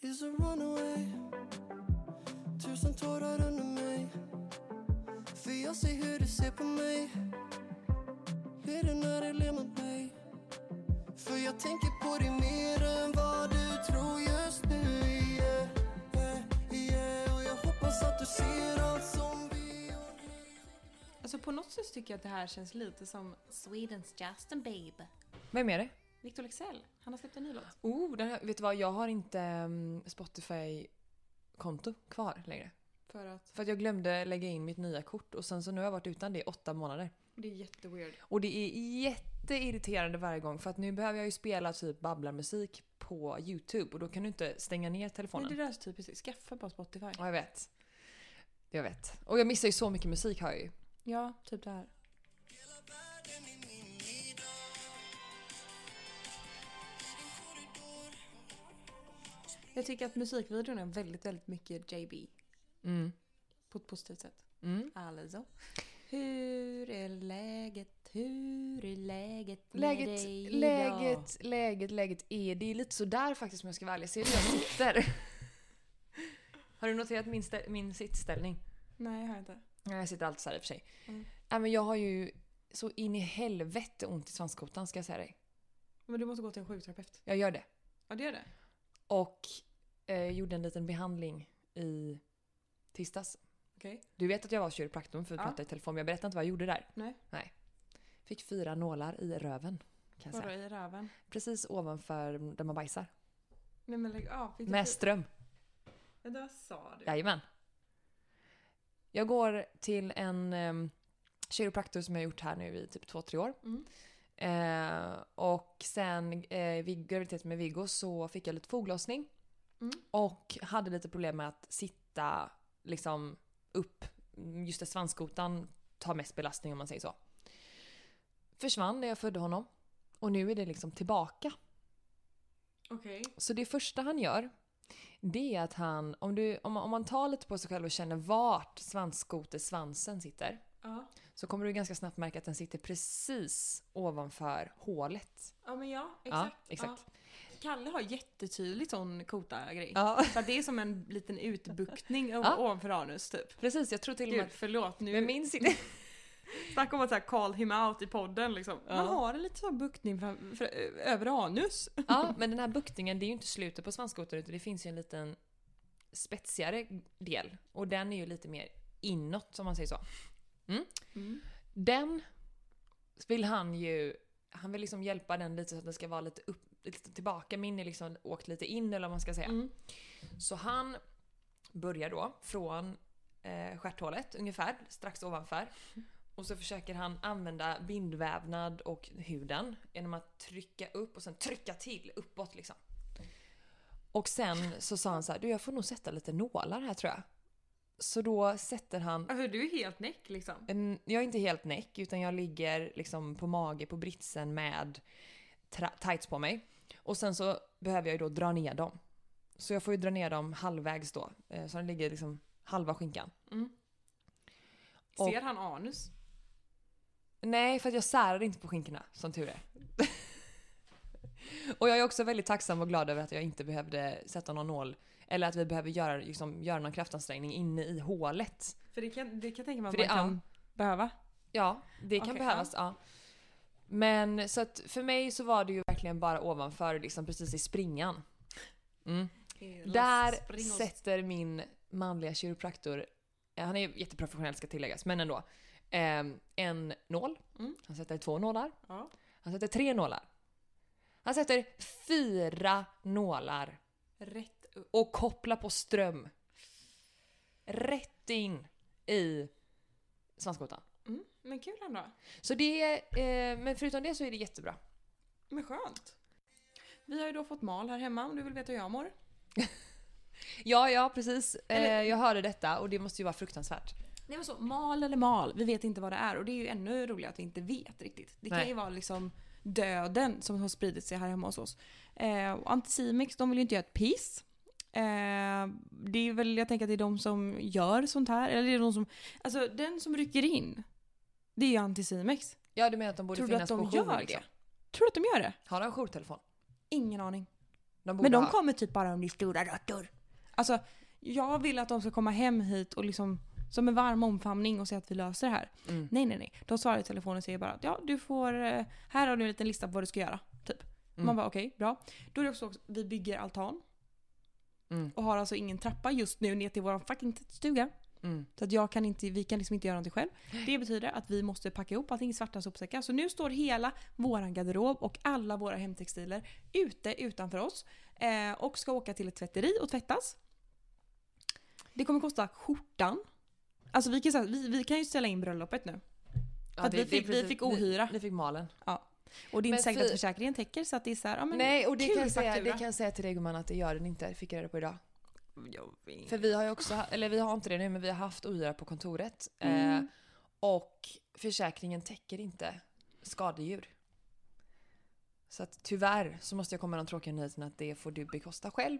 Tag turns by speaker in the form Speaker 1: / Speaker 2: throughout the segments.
Speaker 1: is a runaway Tusen tårar under mig För jag ser hur du ser på mig Är det när du ler mot mig För jag tänker på dig mer än vad du tror just nu yeah, yeah, yeah. Och jag hoppas att du ser allt som vi
Speaker 2: Alltså på något sätt tycker jag att det här känns lite som Swedens Justin Bieber.
Speaker 3: Vem är det?
Speaker 2: Victor Leksell, han har släppt en ny låt.
Speaker 3: Oh, den här, vet du vad? Jag har inte mm, Spotify-konto kvar längre.
Speaker 2: För att
Speaker 3: För att jag glömde lägga in mitt nya kort och sen så nu har jag varit utan det i åtta månader.
Speaker 2: det är jätteweird.
Speaker 3: Och det är jätteirriterande varje gång för att nu behöver jag ju spela typ babblarmusik på YouTube och då kan du inte stänga ner
Speaker 2: Men
Speaker 3: telefonen.
Speaker 2: det där är så typiskt, skaffa bara Spotify.
Speaker 3: Ja, jag vet. Jag vet. Och jag missar ju så mycket musik hör jag ju.
Speaker 2: Ja, typ det här. Jag tycker att musikvideon är väldigt, väldigt mycket JB.
Speaker 3: Mm.
Speaker 2: På ett positivt sätt.
Speaker 3: Mm.
Speaker 2: Alltså. Hur är läget? Hur är läget med
Speaker 3: Läget,
Speaker 2: dig idag?
Speaker 3: läget, läget, läget är... Det är lite sådär faktiskt om jag ska vara ärlig. Ser du hur jag sitter? har du noterat min, stä- min sittställning?
Speaker 2: Nej, jag har inte.
Speaker 3: Nej, Jag sitter alltid så här i och för sig.
Speaker 2: Mm.
Speaker 3: Nej, men jag har ju så in i helvete ont i svanskotan ska jag säga dig.
Speaker 2: Men du måste gå till en sjukterapeut.
Speaker 3: Jag gör det.
Speaker 2: Ja, det gör det.
Speaker 3: Och eh, gjorde en liten behandling i tisdags.
Speaker 2: Okej.
Speaker 3: Du vet att jag var hos kiropraktorn för vi
Speaker 2: Ja.
Speaker 3: pratade i telefon. men Jag berättade inte vad jag gjorde där.
Speaker 2: Nej.
Speaker 3: Fick fyra nålar i röven. Kan jag
Speaker 2: Vadå
Speaker 3: säga.
Speaker 2: i röven?
Speaker 3: Precis ovanför där man bajsar.
Speaker 2: Nej men lägg av. Fick du
Speaker 3: Med
Speaker 2: fri-
Speaker 3: ström.
Speaker 2: Vänta, vad sa du?
Speaker 3: Jajamän. Jag går till en eh, kiropraktor som jag har gjort här nu i typ två, tre år.
Speaker 2: Mm.
Speaker 3: Eh, och sen eh, vid graviditet med Viggo så fick jag lite foglossning.
Speaker 2: Mm.
Speaker 3: Och hade lite problem med att sitta liksom upp. Just det, svanskotan tar mest belastning om man säger så. Försvann när jag födde honom. Och nu är det liksom tillbaka.
Speaker 2: Okej.
Speaker 3: Så det första han gör, det är att han, om, du, om, man- om man tar lite på sig själv och känner vart svanskotesvansen sitter,
Speaker 2: Ja.
Speaker 3: så kommer du ganska snabbt märka att den sitter precis ovanför hålet.
Speaker 2: ja men ja, exakt.
Speaker 3: Ja, exakt.
Speaker 2: Ja. Kalle har jättetydligt sån kota-grej.
Speaker 3: Ja,
Speaker 2: Så att det är som en liten utbuktning
Speaker 3: Ja.
Speaker 2: ovanför anus typ.
Speaker 3: precis. Jag tror till och
Speaker 2: Gud
Speaker 3: med...
Speaker 2: förlåt nu.
Speaker 3: Men min sitter...
Speaker 2: Snacka om att så här call him out i podden liksom.
Speaker 3: Ja.
Speaker 2: Man har en liten sån buktning fram- för, över anus.
Speaker 3: Ja, men den här buktningen, det är ju inte slutet på svanskotan utan det finns ju en liten spetsigare del. Och den är ju lite mer inåt om man säger så.
Speaker 2: Mm.
Speaker 3: Den vill han ju... Han vill liksom hjälpa den lite så att den ska vara lite upp, lite tillbaka. Min är liksom åkt lite in eller vad man ska säga.
Speaker 2: Mm.
Speaker 3: Så han börjar då från eh, stjärthålet ungefär, strax ovanför. Och så försöker han använda bindvävnad och huden genom att trycka upp och sen trycka till uppåt liksom. Och sen så sa han så här, du jag får nog sätta lite nålar här tror jag. Så då sätter han
Speaker 2: Alltså du är helt näck liksom.
Speaker 3: en, jag är inte helt näck utan jag ligger liksom på mage på britsen med tra- tights på mig. Och sen så behöver jag ju då dra ner dem. Så jag får ju dra ner dem halvvägs då. eh, Så den ligger liksom halva skinkan. Och-
Speaker 2: Mm. Ser han anus?
Speaker 3: Nej, för att jag särar inte på skinkorna som tur är. och jag är också väldigt tacksam och glad över att jag inte behövde sätta någon nål. Eller att vi behöver göra, liksom, göra någon kraftansträngning inne i hålet.
Speaker 2: För det kan, det kan jag tänka mig att
Speaker 3: För det-
Speaker 2: man kan
Speaker 3: ja.
Speaker 2: behöva.
Speaker 3: Ja, det kan
Speaker 2: Okej,
Speaker 3: behövas. Ja. Men så att för mig så var det ju verkligen bara ovanför, liksom precis i springan. Mm. Där sätter min manliga kiropraktor, eh, han är ju jätteprofessionell ska tilläggas, men ändå. Eh, en nål.
Speaker 2: Mm.
Speaker 3: Han sätter två nålar.
Speaker 2: Ja.
Speaker 3: Han sätter tre nålar. Han sätter fyra nålar
Speaker 2: Rätt upp.
Speaker 3: och kopplar på ström. Rätt in i svanskotan.
Speaker 2: Mm. Men kul ändå.
Speaker 3: Så det, eh, men förutom det så är det jättebra.
Speaker 2: Men skönt. Vi har ju då fått mal här hemma om du vill veta hur jag mår.
Speaker 3: Ja, ja precis.
Speaker 2: Eller-
Speaker 3: Eh, jag hörde detta och det måste ju vara fruktansvärt.
Speaker 2: Nej men så, mal eller mal, vi vet inte vad det är och det är ju ännu roligare att vi inte vet riktigt. Det kan
Speaker 3: Nej.
Speaker 2: ju vara liksom döden som har spridit sig här hemma hos oss. Eh, och Anticimex, de vill ju inte göra ett piss. Eh, det är väl, jag tänker att det är de som gör sånt här, eller det är de som, alltså den som rycker in, det är ju Anticimex.
Speaker 3: Ja, du menar att de borde
Speaker 2: Tror du att
Speaker 3: finnas
Speaker 2: de
Speaker 3: på jour?
Speaker 2: gör
Speaker 3: liksom?
Speaker 2: det? Tror du att de gör det?
Speaker 3: Har han jourtelefon?
Speaker 2: Ingen aning.
Speaker 3: De borde
Speaker 2: Men de
Speaker 3: ha...
Speaker 2: kommer typ bara om det är stora råttor. Alltså, jag vill att de ska komma hem hit och liksom som en varm omfamning och säga att vi löser det här.
Speaker 3: Mm.
Speaker 2: Nej, nej, nej. De svarar i telefon och säger bara att ja, du får, eh, här har du en liten lista på vad du ska göra. Typ.
Speaker 3: Mm.
Speaker 2: Man bara okej, bra. Då är det också, vi bygger altan
Speaker 3: Mm.
Speaker 2: och har alltså ingen trappa just nu ner till vår fucking stuga.
Speaker 3: Mm.
Speaker 2: Så att jag kan inte, vi kan liksom inte göra någonting själv. Det betyder att vi måste packa ihop allting i svarta sopsäckar. Så nu står hela våran garderob och alla våra hemtextiler ute utanför oss. Eh, och ska åka till ett tvätteri och tvättas. Det kommer kosta skjortan. Alltså vi kan, säga- vi, vi kan ju ställa in bröllopet nu.
Speaker 3: Ja,
Speaker 2: För att vi, fick, vi
Speaker 3: precis-
Speaker 2: fick ohyra.
Speaker 3: Vi, vi fick malen.
Speaker 2: och det är inte
Speaker 3: Men
Speaker 2: säkert att
Speaker 3: fy-
Speaker 2: försäkringen täcker så att det är så här, ja men
Speaker 3: Nej, och det
Speaker 2: kul
Speaker 3: kan, jag säga,
Speaker 2: faktura.
Speaker 3: det kan jag säga till dig gumman att det gör den inte. Det fick jag reda på idag.
Speaker 2: Jag vet.
Speaker 3: För vi har ju också, ha- eller vi har inte det nu, men vi har haft ohyra på kontoret. Eh,
Speaker 2: Mm.
Speaker 3: och försäkringen täcker inte skadedjur. Så att tyvärr så måste jag komma med de tråkiga nyheterna att det får du bekosta själv.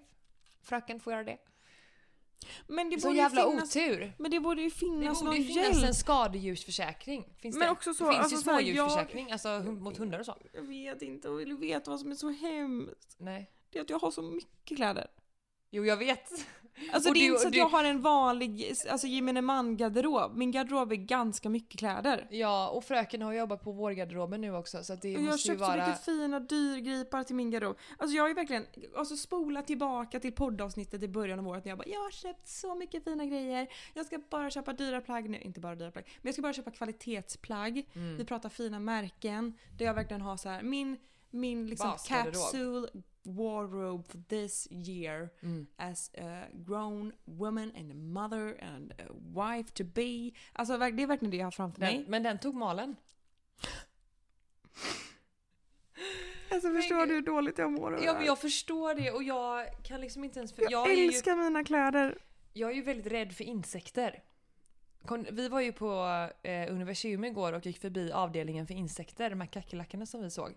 Speaker 3: Fröken får göra det.
Speaker 2: Men det
Speaker 3: Så
Speaker 2: borde ju
Speaker 3: jävla
Speaker 2: finnas,
Speaker 3: otur!
Speaker 2: men det borde ju
Speaker 3: Det
Speaker 2: finnas
Speaker 3: borde
Speaker 2: någon
Speaker 3: ju finnas
Speaker 2: hjälp.
Speaker 3: en skadedjursförsäkring. Finns
Speaker 2: Men
Speaker 3: det?
Speaker 2: också så,
Speaker 3: det finns ju
Speaker 2: alltså så här, jag-
Speaker 3: smådjursförsäkring, alltså hund, mot hundar och så.
Speaker 2: Jag vet inte och vill veta vad som är så hemskt.
Speaker 3: Nej.
Speaker 2: Det är att jag har så mycket kläder.
Speaker 3: Jo, jag vet.
Speaker 2: Alltså
Speaker 3: Och
Speaker 2: det är
Speaker 3: du-
Speaker 2: inte så att
Speaker 3: du-
Speaker 2: jag har en vanlig alltså, gemene man-garderob. Min garderob är ganska mycket kläder.
Speaker 3: Ja, och fröken har jobbat på vårgarderoben nu också så att det
Speaker 2: Och jag har
Speaker 3: måste ju
Speaker 2: köpt så
Speaker 3: vara...
Speaker 2: mycket fina dyrgripar till min garderob. Alltså jag har ju verkligen alltså, spolat tillbaka till poddavsnittet i början av året när jag bara “Jag har köpt så mycket fina grejer, jag ska bara köpa dyra plagg nu”. Inte bara dyra plagg, men jag ska bara köpa kvalitetsplagg.
Speaker 3: Mm.
Speaker 2: Vi pratar fina märken där jag verkligen har så här min, min liksom
Speaker 3: Basgarderob.
Speaker 2: capsule wardrobe for this year
Speaker 3: Mm.
Speaker 2: as a grown woman and a mother and a wife to be. Alltså verk- det är verkligen det jag har framför
Speaker 3: Den,
Speaker 2: mig.
Speaker 3: men den tog malen.
Speaker 2: Alltså förstår
Speaker 3: Tänk-
Speaker 2: du hur dåligt jag mår över
Speaker 3: Ja,
Speaker 2: det
Speaker 3: men
Speaker 2: här?
Speaker 3: jag förstår det och jag kan liksom inte ens... För
Speaker 2: Jag,
Speaker 3: jag, är ju,
Speaker 2: älskar mina kläder.
Speaker 3: jag är ju väldigt rädd för insekter. Kon- Vi var ju på eh, Universium igår och gick förbi avdelningen för insekter, de här kackerlackorna som vi såg.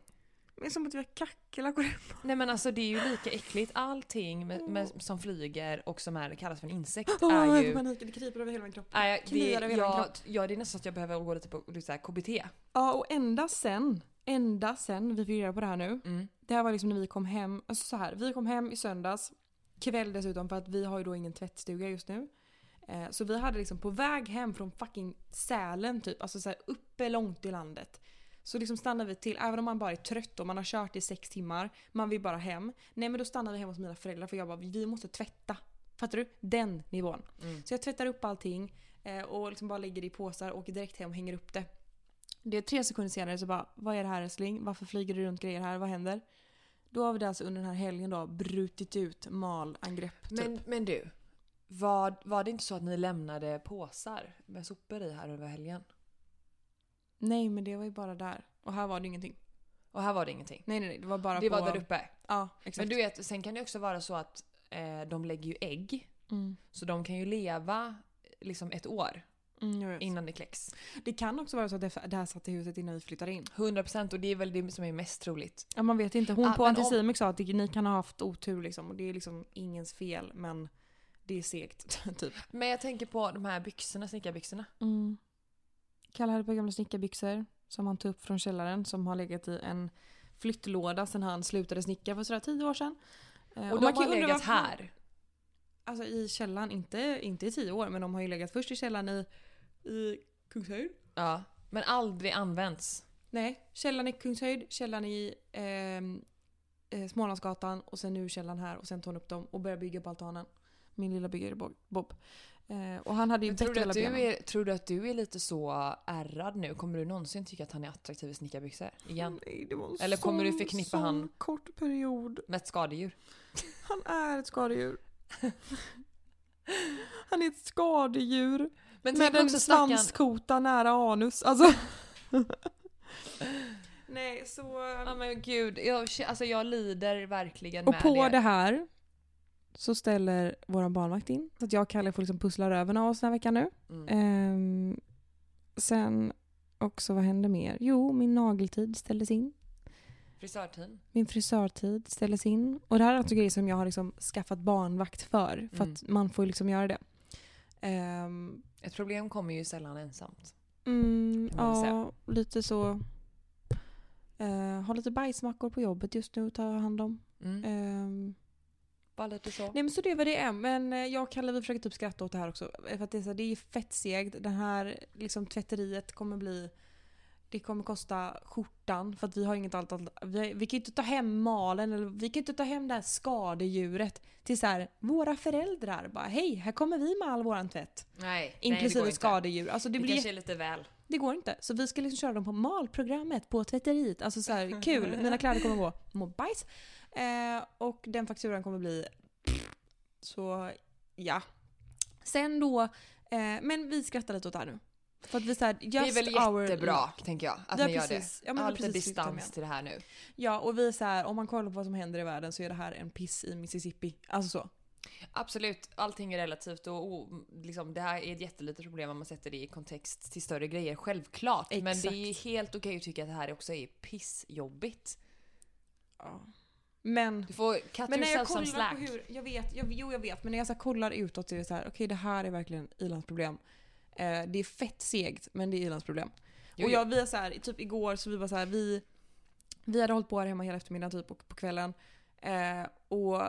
Speaker 2: Det är som att vi har kackerlackor.
Speaker 3: Nej men alltså det är ju lika äckligt, allting med, med, som flyger och som är, kallas för en insekt
Speaker 2: Åh,
Speaker 3: är
Speaker 2: jag får
Speaker 3: ju...
Speaker 2: panik. Det kryper över hela min kropp.
Speaker 3: Nej, det,
Speaker 2: Kliar över hela min
Speaker 3: jag,
Speaker 2: kropp.
Speaker 3: ja, det är nästan så att jag behöver gå lite på lite så här, KBT.
Speaker 2: Ja, och ända sen, ända sen vi fick reda på det här nu.
Speaker 3: Mm.
Speaker 2: Det här var liksom när vi kom hem. Alltså så här, vi kom hem i söndags. Kväll dessutom för att vi har ju då ingen tvättstuga just nu. Eh, så vi hade liksom på väg hem från fucking Sälen typ. Alltså så här uppe långt i landet. Så liksom stannar vi till, även om man bara är trött och man har kört i sex timmar. Man vill bara hem. Nej men då stannar vi hemma hos mina föräldrar för jag bara vi måste tvätta. Fattar du? Den nivån.
Speaker 3: Mm.
Speaker 2: Så jag tvättar upp allting eh, och liksom bara lägger det i påsar och åker direkt hem och hänger upp det. Det är tre sekunder senare så bara, vad är det här älskling? Varför flyger det runt grejer här? Vad händer? Då har vi det alltså under den här helgen då brutit ut malangrepp. Typ.
Speaker 3: Men, men du, var, var det inte så att ni lämnade påsar med sopor i här över helgen?
Speaker 2: Nej men det var ju bara där. Och här var det ingenting.
Speaker 3: Och här var det ingenting.
Speaker 2: Nej nej nej, det var bara
Speaker 3: Det
Speaker 2: på...
Speaker 3: var där uppe.
Speaker 2: Ja, exakt.
Speaker 3: Men du vet, sen kan det också vara så att eh, de lägger ju ägg.
Speaker 2: Mm.
Speaker 3: Så de kan ju leva eh, liksom ett år
Speaker 2: Mm, jag vet.
Speaker 3: innan det kläcks.
Speaker 2: Det kan också vara så att det det här satt i huset innan vi flyttade in.
Speaker 3: 100% och det är väl det som är mest troligt.
Speaker 2: Ja, man vet inte. Hon
Speaker 3: Ah,
Speaker 2: på
Speaker 3: men
Speaker 2: Anticimex sa att det- ni kan ha haft otur liksom. Och det är liksom ingens fel men det är segt typ.
Speaker 3: Men jag tänker på de här byxorna, snickarbyxorna.
Speaker 2: Mm. Kalle hade på gamla snickarbyxor som han tog upp från källaren som har legat i en flyttlåda sedan han slutade snicka för sådär tio år sedan. Eh,
Speaker 3: Och, de
Speaker 2: man kan
Speaker 3: har
Speaker 2: ju undra
Speaker 3: legat
Speaker 2: varför-
Speaker 3: här.
Speaker 2: Alltså i källaren, inte, inte i tio år men de har ju legat först i källaren i, i Kungshöjd.
Speaker 3: Ja. Men aldrig använts.
Speaker 2: Nej, källaren i Kungshöjd, källaren i ehm, eh, Smålandsgatan och sen nu källaren här och sen tog han upp dem och började bygga på altanen. Min lilla byggare Bob- Bob. Eh, och han hade ju
Speaker 3: Men Tror
Speaker 2: bättre
Speaker 3: du,
Speaker 2: hela
Speaker 3: att du
Speaker 2: benen.
Speaker 3: är, tror du att du är lite så ärrad nu? Kommer du någonsin tycka att han är attraktiv i snickarbyxor igen?
Speaker 2: Nej, det var en
Speaker 3: Eller kommer du
Speaker 2: sån-
Speaker 3: förknippa
Speaker 2: sån
Speaker 3: han-
Speaker 2: kort period.
Speaker 3: Med ett skadedjur?
Speaker 2: Han är ett skadedjur. Han är ett skadedjur
Speaker 3: Men
Speaker 2: med
Speaker 3: tänk
Speaker 2: en
Speaker 3: också stackarn,
Speaker 2: svanskota nära anus. Alltså. Nej, så...
Speaker 3: Ja men gud, jag, k- alltså jag lider verkligen
Speaker 2: Och
Speaker 3: med
Speaker 2: på
Speaker 3: det.
Speaker 2: det här så ställer våran barnvakt in. Så att jag och Kalle får liksom pussla röven av oss den här veckan nu.
Speaker 3: Mm.
Speaker 2: Ehm, sen också, vad hände mer? Jo, min nageltid ställdes in.
Speaker 3: Frisörteam.
Speaker 2: Min frisörtid ställdes in. Och det här är alltså grejer som jag har liksom skaffat barnvakt för. För
Speaker 3: Mm.
Speaker 2: att man får ju liksom göra det. Ehm,
Speaker 3: Ett problem kommer ju sällan ensamt.
Speaker 2: mm,
Speaker 3: Kan man väl
Speaker 2: ja, lite så. Eh, har lite bajsmackor på jobbet just nu att ta hand om.
Speaker 3: Mm.
Speaker 2: Ehm,
Speaker 3: Bara lite så.
Speaker 2: nej men så det var det är. Men eh, jag och Kalle vi försöker typ skratta åt det här också. Eh, För att det är, så här, det är fett segt. Det här liksom, tvätteriet kommer bli... Det kommer kosta skjortan för att vi har inget allt, allt vi, vi kan ju inte ta hem malen eller vi kan ju inte ta hem det här skadedjuret till så här, våra föräldrar. Bara hej, här kommer vi med all våran tvätt.
Speaker 3: Nej,
Speaker 2: Inklusive
Speaker 3: nej, det går inte.
Speaker 2: skadedjur. Alltså det,
Speaker 3: Det,
Speaker 2: blir
Speaker 3: kanske är lite väl.
Speaker 2: Det går inte. Så vi ska liksom köra dem på malprogrammet på tvätteriet. Alltså så här, kul. Mina kläder kommer gå må bajs. Eh, och den fakturan kommer bli... Så ja. Sen då... Eh, men vi skrattar lite åt det här nu. För att vi såhär, just
Speaker 3: Det är väl
Speaker 2: our
Speaker 3: jättebra,
Speaker 2: luck.
Speaker 3: tänker jag, att
Speaker 2: Ja,
Speaker 3: ni gör
Speaker 2: precis.
Speaker 3: det.
Speaker 2: Ja, men
Speaker 3: Ja,
Speaker 2: det är
Speaker 3: lite
Speaker 2: precis det jag
Speaker 3: distans
Speaker 2: menar.
Speaker 3: till det här nu.
Speaker 2: Ja, och vi är såhär, om man kollar på vad som händer i världen så är det här en piss i Mississippi. Alltså så.
Speaker 3: Absolut, allting är relativt och, och liksom, det här är ett jättelitet problem om man sätter det i kontext till större grejer, självklart. Men
Speaker 2: Exakt.
Speaker 3: det är helt okej att tycka att det här också är pissjobbigt.
Speaker 2: Ja. Men...
Speaker 3: Du får cut
Speaker 2: Men när jag
Speaker 3: yourself
Speaker 2: kollar
Speaker 3: some slack.
Speaker 2: på hur, jag vet, jag, jo jag vet, men när jag så här kollar utåt så är det så här, okej det här är verkligen i-landsproblem. Eh, det är fett segt men det är i-landsproblem.
Speaker 3: Jo,
Speaker 2: Och jag, vi är så här, typ igår så vi var så här, vi, vi hade hållit på här hemma hela eftermiddagen typ och på kvällen. Eh, och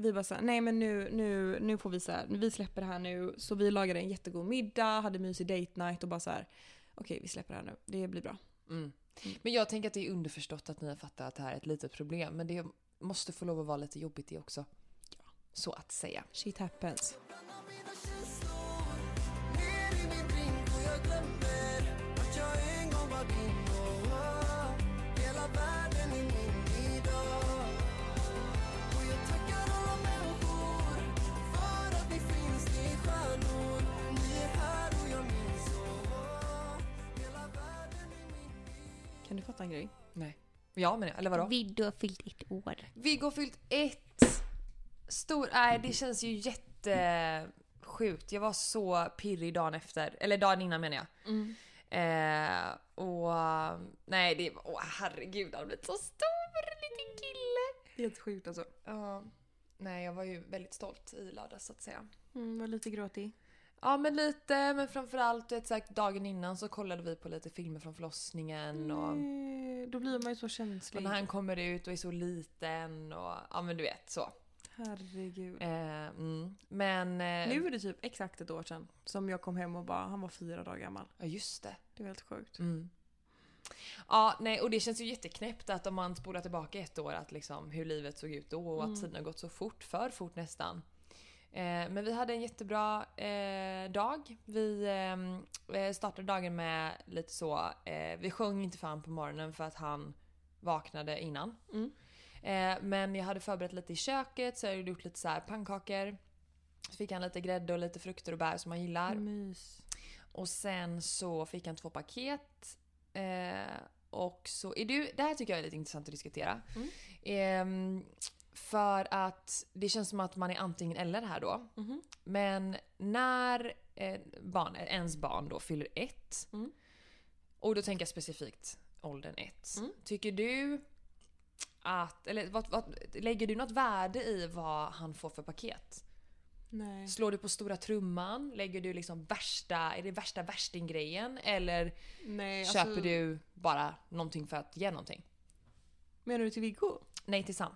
Speaker 2: vi bara såhär, nej men nu, nu, nu får vi så här, vi släpper det här nu. Så vi lagade en jättegod middag, hade mysig date night och bara så här, okej vi släpper det här nu, det blir bra.
Speaker 3: Mm. Men jag tänker att det är underförstått att ni har fattat att det här är ett litet problem. Men det måste få lov att vara lite jobbigt det också. Så att säga.
Speaker 2: Shit happens.
Speaker 1: Blandar mina känslor ner i min drink och jag glömmer vart jag en gång var din. Oh, oh. Hela världen är min idag. Och jag tackar alla människor för att ni finns, ni är stjärnor. Ni är här och jag minns. Oh, oh. Hela världen är min
Speaker 2: Kan du fatta en grej?
Speaker 3: Nej. Ja men eller vadå?
Speaker 4: Viggo har fyllt ett år.
Speaker 3: Viggo har fyllt ett. Stor... Nej, det känns ju jättesjukt. Jag var så pirrig dagen efter. Eller dagen innan menar jag.
Speaker 2: Mm.
Speaker 3: Eh, och... Nej, det... Åh herregud, han har blivit så stor liten kille.
Speaker 2: Helt sjukt alltså.
Speaker 3: Ja. Nej, jag var ju väldigt stolt i lördags så att säga.
Speaker 2: Mm, var lite gråtig.
Speaker 3: Ja men lite, men framförallt du vet, så här, dagen innan så kollade vi på lite filmer från förlossningen och,
Speaker 2: Mm.
Speaker 3: och
Speaker 2: Nej, Då blir man ju så känslig.
Speaker 3: när han kommer ut och är så liten och ja men du vet så.
Speaker 2: Herregud.
Speaker 3: Eh, mm. Men... Eh,
Speaker 2: Nu är det typ exakt ett år sedan som jag kom hem och bara, han var fyra dagar gammal.
Speaker 3: Ja just det.
Speaker 2: Det var helt sjukt.
Speaker 3: Mm. Ja nej och det känns ju jätteknäppt att om man spolar tillbaka ett år att liksom hur livet såg ut då och
Speaker 2: Mm.
Speaker 3: att tiden har gått så fort, för fort nästan. Eh, men vi hade en jättebra eh, dag. Vi ehm, eh, startade dagen med lite så, eh, vi sjöng inte för han på morgonen för att han vaknade innan.
Speaker 2: Mm.
Speaker 3: Eh, men jag hade förberett lite i köket så jag hade gjort lite så här pannkakor. Så fick han lite grädde och lite frukter och bär som han gillar.
Speaker 2: Mys.
Speaker 3: Och sen så fick han två paket. Eh, och så är du, det här tycker jag är lite intressant att diskutera.
Speaker 2: Mm.
Speaker 3: Ehm, för att det känns som att man är antingen eller här då.
Speaker 2: Mhm.
Speaker 3: Men när eh, barn, ens barn då fyller ett.
Speaker 2: Mm.
Speaker 3: Och då tänker jag specifikt åldern ett.
Speaker 2: Mm.
Speaker 3: Tycker du att, eller vad, vad, lägger du något värde i vad han får för paket?
Speaker 2: Nej.
Speaker 3: Slår du på stora trumman? Lägger du liksom värsta, är det värsta värstinggrejen? Eller
Speaker 2: Nej alltså-
Speaker 3: köper du bara någonting för att ge någonting?
Speaker 2: Menar du till Viggo?
Speaker 3: Nej till Sam.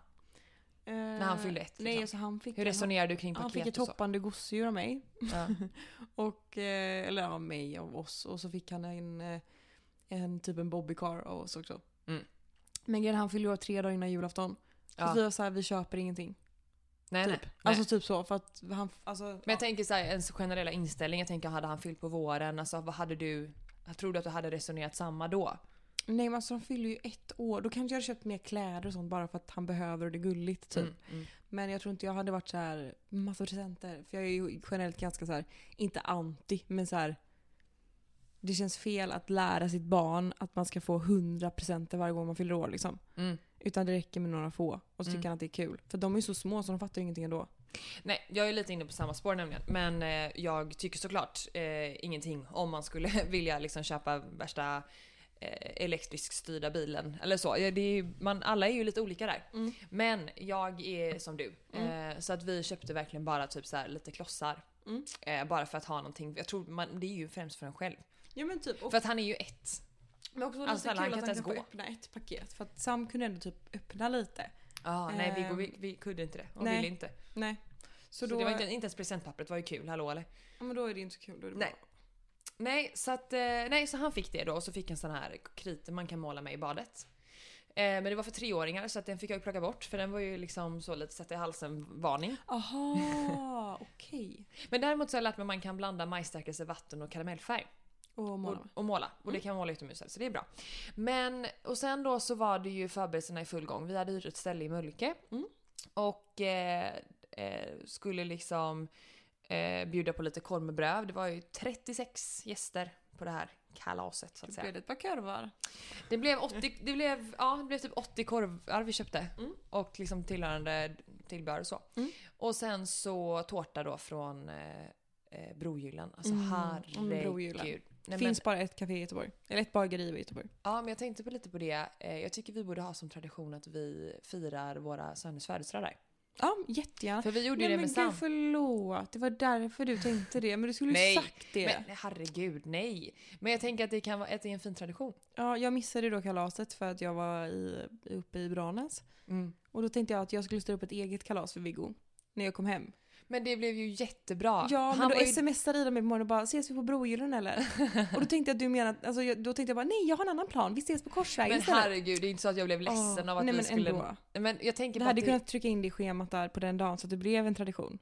Speaker 2: När
Speaker 3: han fyllde ett,
Speaker 2: Nej
Speaker 3: liksom.
Speaker 2: alltså han fick
Speaker 3: Hur resonerar du kring
Speaker 2: han, han fick ett
Speaker 3: paket och så?
Speaker 2: hoppande gosedjur av mig.
Speaker 3: Ja.
Speaker 2: Och, eh, eller av mig, av oss. Och så fick han en, eh, en typ en bobbycar av oss också.
Speaker 3: Mm.
Speaker 2: Men grejen är, han fyllde år tre dagar innan julafton. Så vi
Speaker 3: Ja.
Speaker 2: var såhär, vi köper ingenting.
Speaker 3: Nej, nej.
Speaker 2: typ. Alltså typ så för att han, alltså.
Speaker 3: Men jag tänker så här, ens generella inställning. Jag tänker hade han fyllt på våren, alltså vad hade du... Tror du att du hade resonerat samma då?
Speaker 2: Nej men alltså de fyller ju ett år. Då kanske jag hade köpt mer kläder och sånt bara för att han behöver och det är gulligt typ.
Speaker 3: Mm, mm.
Speaker 2: Men jag tror inte jag hade varit så här massa presenter. För jag är ju generellt ganska så här inte anti men så här. Det känns fel att lära sitt barn att man ska få 100 presenter varje gång man fyller år liksom.
Speaker 3: Mm.
Speaker 2: Utan det räcker med några få och så tycker
Speaker 3: Mm.
Speaker 2: han att det är kul. För de är ju så små så de fattar ju ingenting ändå.
Speaker 3: Nej, jag är lite inne på samma spår nämligen. Men eh, jag tycker såklart eh, ingenting om man skulle vilja liksom köpa värsta eh, elektriskt styrda bilen eller så. Ja, Det är ju, man, alla är ju lite olika där.
Speaker 2: Mm.
Speaker 3: Men jag är som du. Eh, så att vi köpte verkligen bara typ så här lite klossar.
Speaker 2: Mm.
Speaker 3: Eh, bara för att ha någonting. Jag tror man, det är ju främst för en själv.
Speaker 2: Ja men typ.
Speaker 3: För att han är ju ett.
Speaker 2: Men också
Speaker 3: Alltså,
Speaker 2: lite
Speaker 3: snälla, han
Speaker 2: kul
Speaker 3: kan
Speaker 2: att
Speaker 3: inte
Speaker 2: han
Speaker 3: ens
Speaker 2: kan få
Speaker 3: gå.
Speaker 2: öppna ett paket. För att Sam kunde ändå typ öppna lite.
Speaker 3: Ah, nej, Viggo
Speaker 2: Ehm,
Speaker 3: vi, vi kunde inte det. Hon
Speaker 2: nej.
Speaker 3: ville inte.
Speaker 2: Nej.
Speaker 3: Så,
Speaker 2: Så då,
Speaker 3: det var inte, inte ens presentpappret var ju kul, hallå eller?
Speaker 2: ja, men då är det inte så kul. Då är det
Speaker 3: Nej.
Speaker 2: Bra.
Speaker 3: Nej, så att, eh, nej, så han fick det då och så fick en sån här kriter man kan måla med i badet. Eh, men det var för treåringar så att den fick jag ju plocka bort för den var ju liksom så lite sätta i halsen-varning.
Speaker 2: Aha, okej.
Speaker 3: Men däremot så har jag lärt mig att man kan blanda majsstärkelse, vatten och karamellfärg.
Speaker 2: Och
Speaker 3: och,
Speaker 2: måla.
Speaker 3: och måla. Mm. Och det kan man måla utomhus så det är bra. Men, och sen då så var det ju förberedelserna i full gång. Vi hade hyrt ett ställe i Mölnlycke.
Speaker 2: Mm.
Speaker 3: Och eh, eh, skulle liksom eh, bjuda på lite korv med bröd. Det var ju 36 gäster på det här kalaset så att
Speaker 2: Då
Speaker 3: säga.
Speaker 2: blev det ett par korvar.
Speaker 3: Det blev, 80, det blev, ja, det blev typ 80 korvar vi köpte.
Speaker 2: Mm.
Speaker 3: Och liksom tillhörande tillbehör och så.
Speaker 2: Mm.
Speaker 3: Och sen så tårta då från eh, eh, Brogyllan. Alltså
Speaker 2: Mm, mm,
Speaker 3: herregud.
Speaker 2: Brogyllan.
Speaker 3: Nej, men-
Speaker 2: Finns bara ett café i Göteborg. Eller ett bageri i Göteborg.
Speaker 3: Ja, men jag tänkte på lite på det. Eh, Jag tycker vi borde ha som tradition att vi firar våra söners födelsedag där.
Speaker 2: Ja, jättegärna.
Speaker 3: För vi gjorde ju
Speaker 2: Nej men
Speaker 3: det med
Speaker 2: gud
Speaker 3: Sam.
Speaker 2: förlåt, det var därför du tänkte det. Men du skulle
Speaker 3: Nej,
Speaker 2: ju sagt det.
Speaker 3: Men herregud, nej. Men jag tänker att det kan vara att det är en fin tradition.
Speaker 2: Ja, jag missade ju då kalaset för att jag var i, uppe i Branäs. Och då tänkte jag att jag skulle ställa upp ett eget kalas för Viggo. När jag kom hem.
Speaker 3: Men det blev ju jättebra.
Speaker 2: Ja, men
Speaker 3: Han
Speaker 2: då
Speaker 3: var ju-
Speaker 2: smsade Ida mig på morgonen och bara “ses vi på Brogyllan eller?” Och då tänkte jag att du menar, alltså, jag, då tänkte jag bara “nej, jag har en annan plan, vi ses på Korsvägen
Speaker 3: Men
Speaker 2: istället."
Speaker 3: herregud, det är inte så att jag blev ledsen
Speaker 2: Åh,
Speaker 3: av att
Speaker 2: nej,
Speaker 3: vi
Speaker 2: men
Speaker 3: skulle...
Speaker 2: Ändå.
Speaker 3: Men jag tänker
Speaker 2: Du
Speaker 3: på att
Speaker 2: hade
Speaker 3: det...
Speaker 2: kunnat trycka in det i schemat där på den dagen så att det blev en tradition.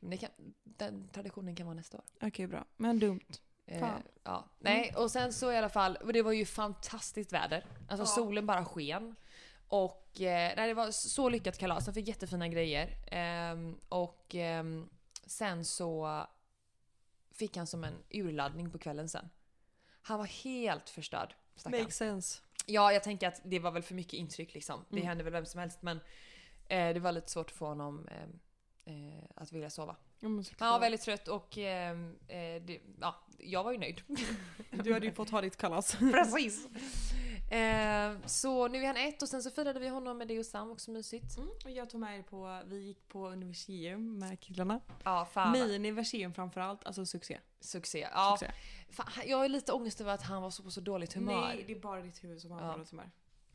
Speaker 3: Men det kan... den traditionen kan vara nästa år.
Speaker 2: Okej, bra. Men dumt.
Speaker 3: Eh,
Speaker 2: Fan. Mm.
Speaker 3: ja. Nej, och sen så i alla fall, och det var ju fantastiskt väder. Alltså
Speaker 2: Ja.
Speaker 3: solen bara sken. Och eh, nej, det var så lyckat kalas, de fick jättefina grejer. Ehm, och ehm, sen så fick han som en urladdning på kvällen sen. Han var helt förstörd. Stackarn.
Speaker 2: sense.
Speaker 3: Ja, jag tänker att det var väl för mycket intryck liksom. Det
Speaker 2: Mm.
Speaker 3: hände väl vem som helst men eh, det var lite svårt att få honom eh, eh, att vilja sova.
Speaker 2: Ja, men
Speaker 3: Han var
Speaker 2: såklart.
Speaker 3: väldigt trött och ehm, eh, det, ja, jag var ju nöjd.
Speaker 2: Du hade ju fått ha ditt kalas.
Speaker 3: Precis. Eh, så nu är han ett och sen så firade vi honom med det och Sam också mysigt.
Speaker 2: Mm, och jag tog med er på, vi gick på universium med killarna.
Speaker 3: Ja, fan. vad-
Speaker 2: Miniversium framförallt, alltså succé.
Speaker 3: Succé. Ja,
Speaker 2: succé.
Speaker 3: fan, han- jag är lite ångest över att han var så på så dåligt humör.
Speaker 2: Nej, det är bara ditt huvud som har
Speaker 3: Ja.
Speaker 2: dåligt humör.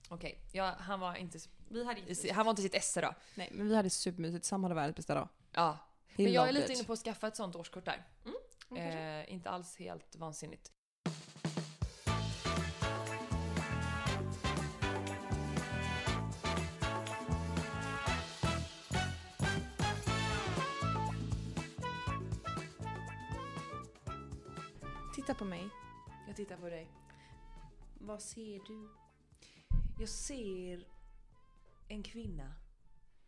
Speaker 3: Okej, ja, han var inte s-
Speaker 2: Vi hade
Speaker 3: i si- han var inte i sitt esse då.
Speaker 2: Nej, men vi hade supermysigt. Sam hade världens bästa dag.
Speaker 3: Ja.
Speaker 2: He
Speaker 3: Men jag är
Speaker 2: loved
Speaker 3: lite
Speaker 2: it.
Speaker 3: inne på att skaffa ett sånt årskort där.
Speaker 2: Mm, kanske.
Speaker 3: Eh, inte alls helt vansinnigt.
Speaker 2: Titta på mig.
Speaker 3: Jag tittar på dig.
Speaker 2: Vad ser du?
Speaker 3: Jag ser en kvinna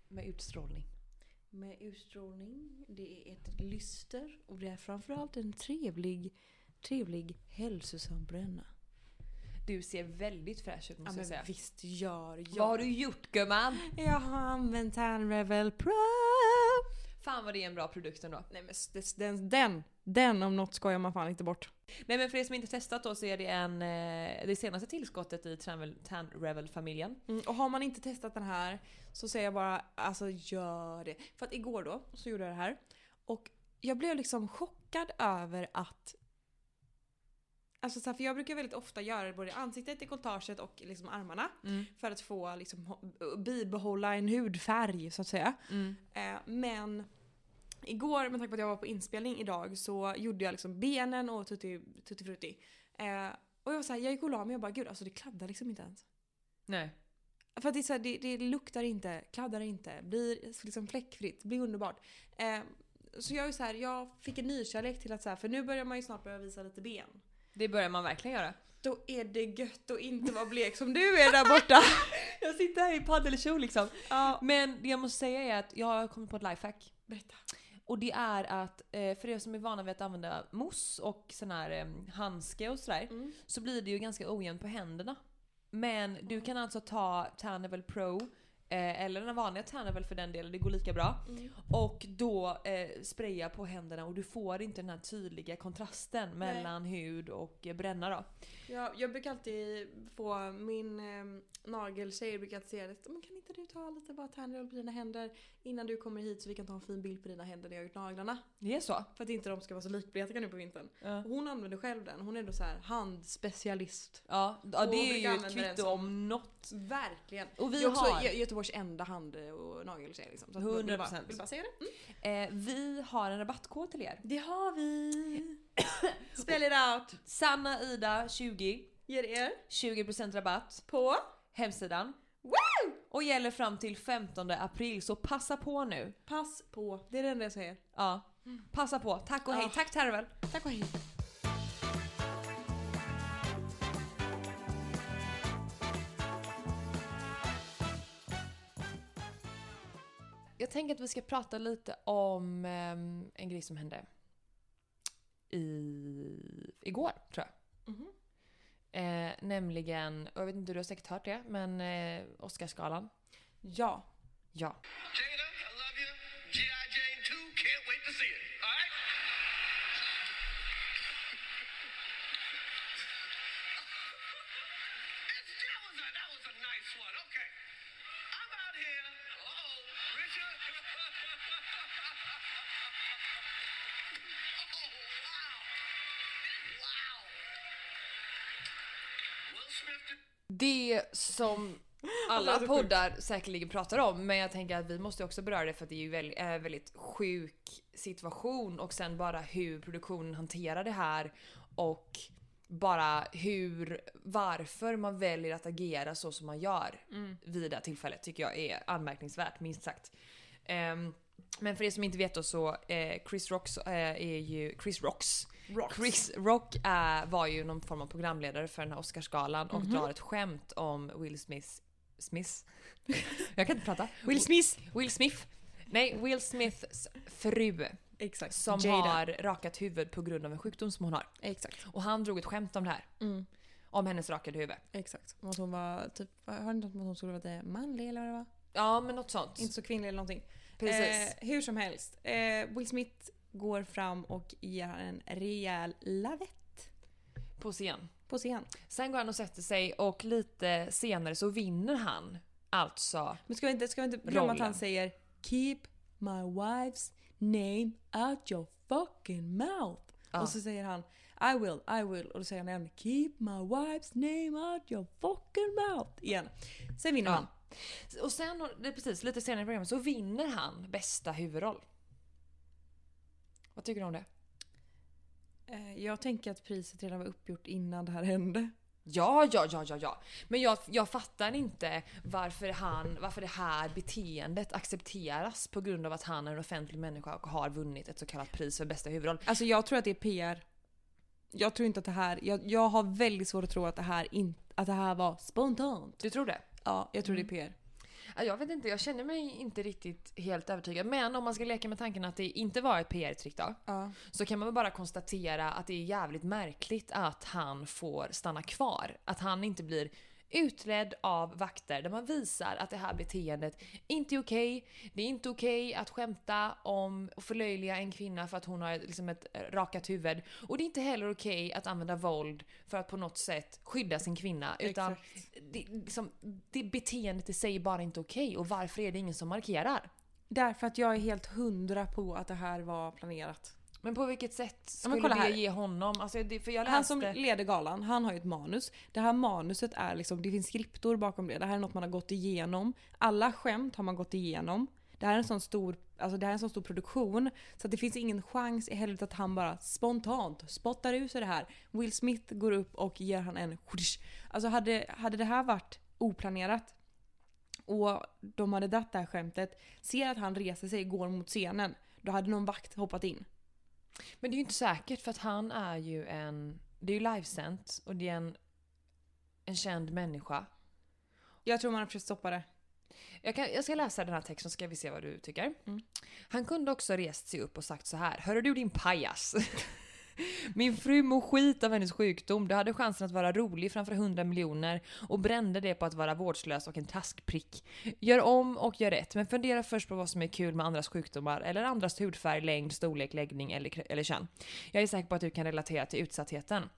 Speaker 3: med utstrålning.
Speaker 2: Med utstrålning, det är ett lyster och det är framförallt en trevlig, trevlig hälsosam bränna.
Speaker 3: Du ser väldigt fräsch ut
Speaker 2: Ja
Speaker 3: måste
Speaker 2: men
Speaker 3: jag säga.
Speaker 2: visst gör jag.
Speaker 3: Vad har du gjort gumman?
Speaker 2: Jag har använt en Revel Pro.
Speaker 3: Fan vad det är en bra produkt ändå.
Speaker 2: Nej men s- des- den, den, den om något skojar man fan inte bort.
Speaker 3: Nej men för er som inte testat då så är det en, eh, det senaste tillskottet i Tran- Tan Revel-familjen.
Speaker 2: Mm, och har man inte testat den här så säger jag bara alltså gör det. För att igår då så gjorde jag det här och jag blev liksom chockad över att Alltså så här, för jag brukar väldigt ofta göra det både i ansiktet, dekolletaget och liksom armarna. För att få liksom, ho- bibehålla en hudfärg så att säga. Eh, men igår, med tanke på att jag var på inspelning idag, så gjorde jag liksom benen och tutti, tutti frutti. Eh, och jag var så här, jag gick och la mig och bara gud alltså det kladdar liksom inte ens.
Speaker 3: Nej.
Speaker 2: För att det, är så här, det, det luktar inte, kladdar inte, blir liksom fläckfritt, blir underbart. Eh, så jag är så här, jag fick en nykärlek till att så här, för nu börjar man ju snart börja visa lite ben.
Speaker 3: Det börjar man verkligen göra.
Speaker 2: Då är det gött att inte vara blek som du är där borta.
Speaker 3: Jag sitter här i paddelkjol liksom.
Speaker 2: ja,
Speaker 3: Men det jag måste säga är att jag har kommit på ett lifehack.
Speaker 2: berätta.
Speaker 3: Och det är att eh, för er som är vana vid att använda mousse och sån här eh, handske och sådär.
Speaker 2: Mm.
Speaker 3: Så blir det ju ganska ojämnt på händerna. Men du kan alltså ta Tannival Pro eh, eller den vanliga Tannival för den delen, det går lika bra.
Speaker 2: Mm.
Speaker 3: Och då eh, spraya på händerna och du får inte den här tydliga kontrasten mellan hud och eh, bränna då.
Speaker 2: Ja, jag brukar alltid få min eh, nageltjej brukar alltid säga det. Men kan inte du ta lite bara tandroll på dina händer innan du kommer hit så vi kan ta en fin bild på dina händer när jag har gjort naglarna.
Speaker 3: Det är så?
Speaker 2: För att inte de ska vara så likbleka nu på vintern.
Speaker 3: Ja,
Speaker 2: Och Hon använder själv den. Hon är då så här handspecialist.
Speaker 3: ja, ja
Speaker 2: Och
Speaker 3: det
Speaker 2: brukar
Speaker 3: är ju ett
Speaker 2: använda den
Speaker 3: kvitto
Speaker 2: som-
Speaker 3: om något.
Speaker 2: Verkligen.
Speaker 3: Och vi
Speaker 2: jag är också
Speaker 3: har...
Speaker 2: Gö- Göteborgs enda hand eh, och nagelserie. Liksom. Så att
Speaker 3: 100%.
Speaker 2: jag vill bara- vill bara säga det.
Speaker 3: Eh, vi har en rabattkod till er.
Speaker 2: Det har vi! Spell it out!
Speaker 3: Sanna Ida 20.
Speaker 2: Ger er
Speaker 3: 20% rabatt.
Speaker 2: på...
Speaker 3: Hemsidan. Och gäller fram till 15 april så passa på nu.
Speaker 2: Pass på. Det är det enda jag säger.
Speaker 3: Ja. Passa på. Tack och hej.
Speaker 2: Ja.
Speaker 3: Tack Tervel.
Speaker 2: Tack och hej.
Speaker 3: Jag tänker att vi ska prata lite om ehm, en grej som hände i, igår tror jag.
Speaker 2: Mhm.
Speaker 3: Eh, nämligen, och jag vet inte, du har säkert hört det, men eh, Oscarsgalan.
Speaker 2: Ja.
Speaker 3: Ja.
Speaker 4: Jada, I love you. G.I. Jane 2, can't wait to see it. All right? It's- that, was a, that was a nice one. Okay. I'm out here. Uh-oh. Richard. oh, wow. Wow. Will Smith did
Speaker 3: Det som alla poddar säkerligen pratar om, men jag tänker att vi måste också beröra det för att det är ju väldigt, är en väldigt sjuk situation och sen bara hur produktionen hanterar det här och bara hur, varför man väljer att agera så som man gör vid det här tillfället tycker jag är anmärkningsvärt minst sagt. Ehm, men för er som inte vet då så eh, Chris Rocks eh, är ju, Chris Rocks Chris Rock eh, var ju någon form av programledare för den här Oscarsgalan och drar ett skämt om Will Smith... Smith? Jag kan inte prata. Will Smith! Will Smith! Nej, Will Smiths fru
Speaker 2: Exakt.
Speaker 3: som
Speaker 2: Jada.
Speaker 3: har rakat huvud på grund av en sjukdom som hon har.
Speaker 2: Exakt.
Speaker 3: Och han drog ett skämt om det här. Om hennes rakade huvud.
Speaker 2: Exakt. Om att hon var typ... Har ni något om att hon skulle vara lite manlig eller vad det var?
Speaker 3: Ja, men något sånt.
Speaker 2: Inte så kvinnlig eller någonting. Eh,
Speaker 3: Precis.
Speaker 2: hur som helst. Eh, Will Smith går fram och ger han en rejäl lavett
Speaker 3: På scen.
Speaker 2: på scen.
Speaker 3: Sen går han och sätter sig och lite senare så vinner han alltså
Speaker 2: Men ska vi inte, ska vi inte glömma att
Speaker 3: Rollen.
Speaker 2: han säger “Keep my wife's name out your fucking mouth”.
Speaker 3: Ja.
Speaker 2: Och så säger han “I will, I will” och då säger han igen “Keep my wife's name out your fucking mouth” igen. Sen vinner han.
Speaker 3: Ja. Och sen, har- det är precis, lite senare i programmet så vinner han bästa huvudroll. Vad tycker du om det?
Speaker 2: Eh, Jag tänker att priset redan var uppgjort innan det här hände.
Speaker 3: Ja, ja, ja, ja, ja. Men jag, jag fattar inte varför, han, varför det här beteendet accepteras på grund av att han är en offentlig människa och har vunnit ett så kallat pris för bästa huvudroll.
Speaker 2: Alltså jag tror att det är PR. Jag tror inte att det här... Jag, jag har väldigt svårt att tro att det här, in, att det här var spontant.
Speaker 3: Du tror det?
Speaker 2: Ja, jag tror det är PR.
Speaker 3: Ja, Jag vet inte, jag känner mig inte riktigt helt övertygad. Men om man ska leka med tanken att det inte var ett PR-trick då.
Speaker 2: Ja.
Speaker 3: så kan man väl bara konstatera att det är jävligt märkligt att han får stanna kvar. Att han inte blir utledd av vakter där man visar att det här beteendet inte är okej. Det är inte okej att skämta om och förlöjliga en kvinna för att hon har ett- liksom ett eh, rakat huvud. Och det är inte heller okej att använda våld för att på något sätt skydda sin kvinna. Utan det, liksom, det beteendet i sig är bara inte okej. Och varför är det ingen som markerar?
Speaker 2: Därför att jag är helt hundra på att det här var planerat.
Speaker 3: Men på vilket sätt
Speaker 2: Ja,
Speaker 3: skulle
Speaker 2: men kolla
Speaker 3: det
Speaker 2: här.
Speaker 3: ge honom? Alltså det, för jag läste...
Speaker 2: Han som leder galan, han har ju ett manus. Det här manuset är liksom, det finns skriptor bakom det. Det här är något man har gått igenom. Alla skämt har man gått igenom. Det här är en sån stor, alltså det här är en sån stor produktion. Så att det finns ingen chans i helvete att han bara spontant spottar ut sig det här. Will Smith går upp och ger han en skjuts. Alltså hade, hade det här varit oplanerat och de hade dratt det här skämtet, ser att han reser sig och går mot scenen. Då hade någon vakt hoppat in.
Speaker 3: Men det är ju inte säkert för att han är ju en... Det är ju livesänt och det är en, en känd människa.
Speaker 2: Jag tror man har försökt stoppa det.
Speaker 3: Jag, kan, jag ska läsa den här texten så ska vi se vad du tycker. Han kunde också rest sig upp och sagt så här. Hörru du din pajas. Min fru mår skit av hennes sjukdom. Du hade chansen att vara rolig framför 100 miljoner och brände det på att vara vårdslös och en taskprick. Gör om och gör rätt, men fundera först på vad som är kul med andras sjukdomar eller andras hudfärg, längd, storlek, läggning eller, kr- eller kön. Jag är säker på att du kan relatera till utsattheten.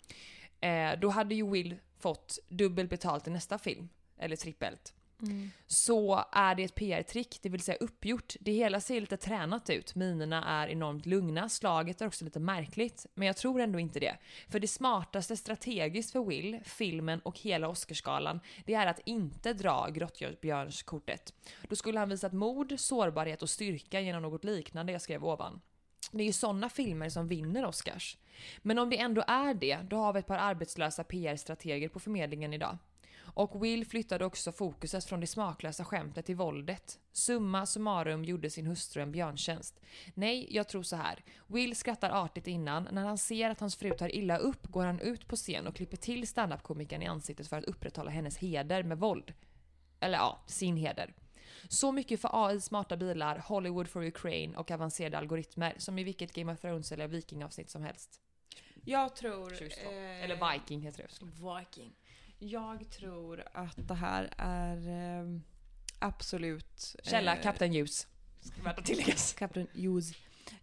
Speaker 3: Eh, då hade ju Will fått dubbelt betalt i nästa film, eller trippelt.
Speaker 2: Mm.
Speaker 3: så är det ett PR-trick, det vill säga uppgjort. Det hela ser lite tränat ut, minerna är enormt lugna, slaget är också lite märkligt. Men jag tror ändå inte det. För det smartaste strategiskt för Will, filmen och hela Oscarsgalan, det är att inte dra grottbjörnskortet. Då skulle han visat mod, sårbarhet och styrka genom något liknande jag skrev ovan. Det är ju sådana filmer som vinner Oscars. Men om det ändå är det, då har vi ett par arbetslösa PR-strateger på förmedlingen idag. Och Will flyttade också fokuset från det smaklösa skämtet till våldet. Summa summarum gjorde sin hustru en björntjänst. Nej, jag tror så här. Will skrattar artigt innan. När han ser att hans fru tar illa upp går han ut på scen och klipper till standup-komikern i ansiktet för att upprätthålla hennes heder med våld. Eller ja, sin heder. Så mycket för AI, smarta bilar, Hollywood for Ukraine och avancerade algoritmer som i vilket Game of Thrones eller Viking-avsnitt som helst.
Speaker 2: Jag tror...
Speaker 3: Tjus då.
Speaker 2: eh,
Speaker 3: Eller Viking heter det.
Speaker 2: Viking. Jag tror att det här är eh, absolut...
Speaker 3: Källa
Speaker 2: eh,
Speaker 3: Kapten Ljus. Ska värt att tilläggas.
Speaker 2: Kapten Hughes.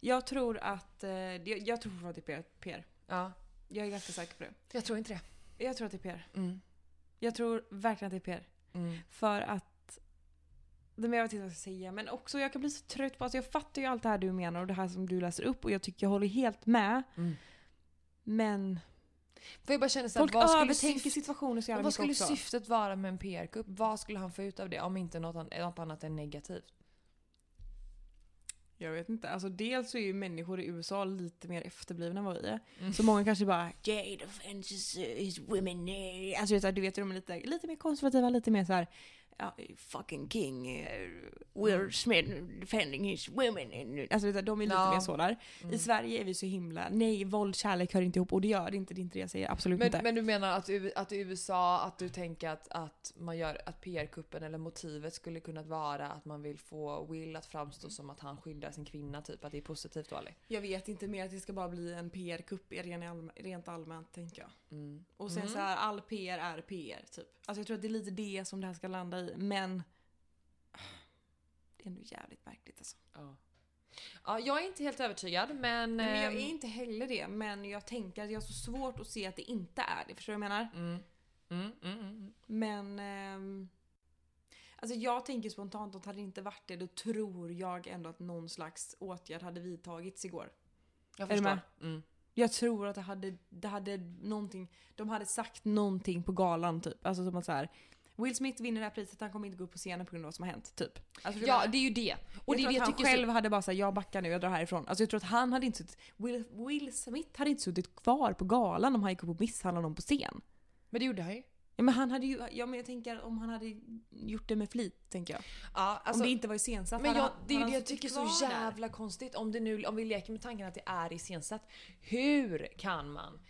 Speaker 2: Jag tror att... Eh, jag, jag tror fortfarande att det är PR. PR.
Speaker 3: Ja,
Speaker 2: Jag är ganska säker på det.
Speaker 3: jag tror inte det.
Speaker 2: Jag tror att det är PR.
Speaker 3: Mm.
Speaker 2: Jag tror verkligen att det är PR.
Speaker 3: Mm.
Speaker 2: För att... Det mer jag vet inte vad jag ska säga, men också jag kan bli så trött på... Alltså jag fattar ju allt det här du menar och det här som du läser upp och jag tycker jag håller helt med.
Speaker 3: Mm.
Speaker 2: Men
Speaker 3: För jag bara känner såhär,
Speaker 2: folk
Speaker 3: vad skulle,
Speaker 2: övertänker
Speaker 3: syftet,
Speaker 2: situationen så jävla
Speaker 3: vad skulle
Speaker 2: mycket också.
Speaker 3: syftet vara med en PR-kupp? Vad skulle han få ut av det om inte något, an- något annat än negativt?
Speaker 2: Jag vet inte. Alltså dels så är ju människor i USA lite mer efterblivna än vad vi är.
Speaker 3: Mm.
Speaker 2: Så många kanske bara “Jade offenses his women”. eh." Alltså du vet, du vet de är lite, lite mer konservativa, lite mer så här. Ja, fucking king, eh, Will Smith defending his women. in-" Alltså vet du, de är lite
Speaker 3: Ja.
Speaker 2: mer så där. I Sverige är vi så himla, nej våld, kärlek hör inte ihop och det gör det inte, det är inte det jag säger, absolut
Speaker 3: Men,
Speaker 2: inte.
Speaker 3: men du menar att, U- att i USA, att du tänker att, att, man gör, att PR-kuppen eller motivet skulle kunna vara att man vill få Will att framstå som att han skyddar sin kvinna, typ att det är positivt och Ali.
Speaker 2: Jag vet inte mer att det ska bara bli en PR-kupp rent allmänt tänker jag.
Speaker 3: Mm.
Speaker 2: Och sen så här, all PR är PR typ. Alltså jag tror att det är lite det som det här ska landa i, men... Det är ändå jävligt märkligt alltså.
Speaker 3: Ja. ja, jag är inte helt övertygad men...
Speaker 2: Nej, men jag
Speaker 3: ehm,
Speaker 2: är inte heller det, men jag tänker att jag har så svårt att se att det inte är det. Förstår du vad jag menar?
Speaker 3: mm, mm, mm, mm.
Speaker 2: Men... ehm, alltså jag tänker spontant att hade det inte varit det, då tror jag ändå att någon slags åtgärd hade vidtagits igår.
Speaker 3: Jag
Speaker 2: Är du
Speaker 3: förstår.
Speaker 2: med?
Speaker 3: Mm.
Speaker 2: Jag tror att det hade, det hade någonting, de hade sagt någonting på galan typ. Alltså som att så här. Will Smith vinner det här priset, han kommer inte gå upp på scenen på grund av vad som har hänt. Typ. Alltså, det
Speaker 3: Ja,
Speaker 2: var-
Speaker 3: det är ju det. Och
Speaker 2: jag
Speaker 3: det är
Speaker 2: tror
Speaker 3: det
Speaker 2: att
Speaker 3: jag
Speaker 2: han
Speaker 3: tycker är så-
Speaker 2: själv hade bara sagt jag backar nu, jag drar härifrån. Alltså jag tror att han hade inte suttit, Will, Will Smith hade inte suttit kvar på galan om han gick upp och misshandlade någon på scen.
Speaker 3: Men det gjorde han ju.
Speaker 2: Ja men han hade ju, ja men jag tänker om han hade gjort det med flit tänker jag.
Speaker 3: Ja, alltså,
Speaker 2: om det inte var iscensatt
Speaker 3: men
Speaker 2: hade
Speaker 3: jag,
Speaker 2: han-
Speaker 3: det är ju
Speaker 2: hade
Speaker 3: det
Speaker 2: han
Speaker 3: jag
Speaker 2: suttit
Speaker 3: tycker är så
Speaker 2: kvar där?
Speaker 3: jävla konstigt. Om, det nu, om vi leker med tanken att det är iscensatt. Hur kan man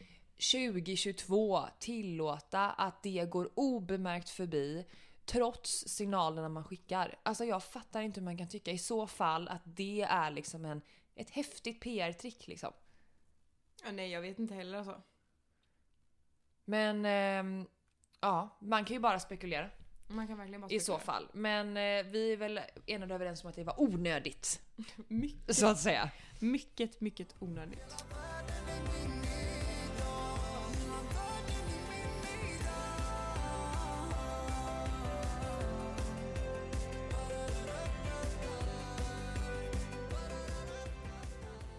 Speaker 3: 2022 tillåta att det går obemärkt förbi trots signalerna man skickar? Alltså jag fattar inte hur man kan tycka i så fall att det är liksom en, ett häftigt PR-trick liksom.
Speaker 2: Ja, nej jag vet inte heller alltså.
Speaker 3: Men ehm, ja, man kan ju bara spekulera.
Speaker 2: Man kan verkligen bara
Speaker 3: I så
Speaker 2: spekulera.
Speaker 3: fall. Men eh, vi är väl enade överens om att det var onödigt.
Speaker 2: Mycket
Speaker 3: Så att säga.
Speaker 2: Mycket, mycket onödigt.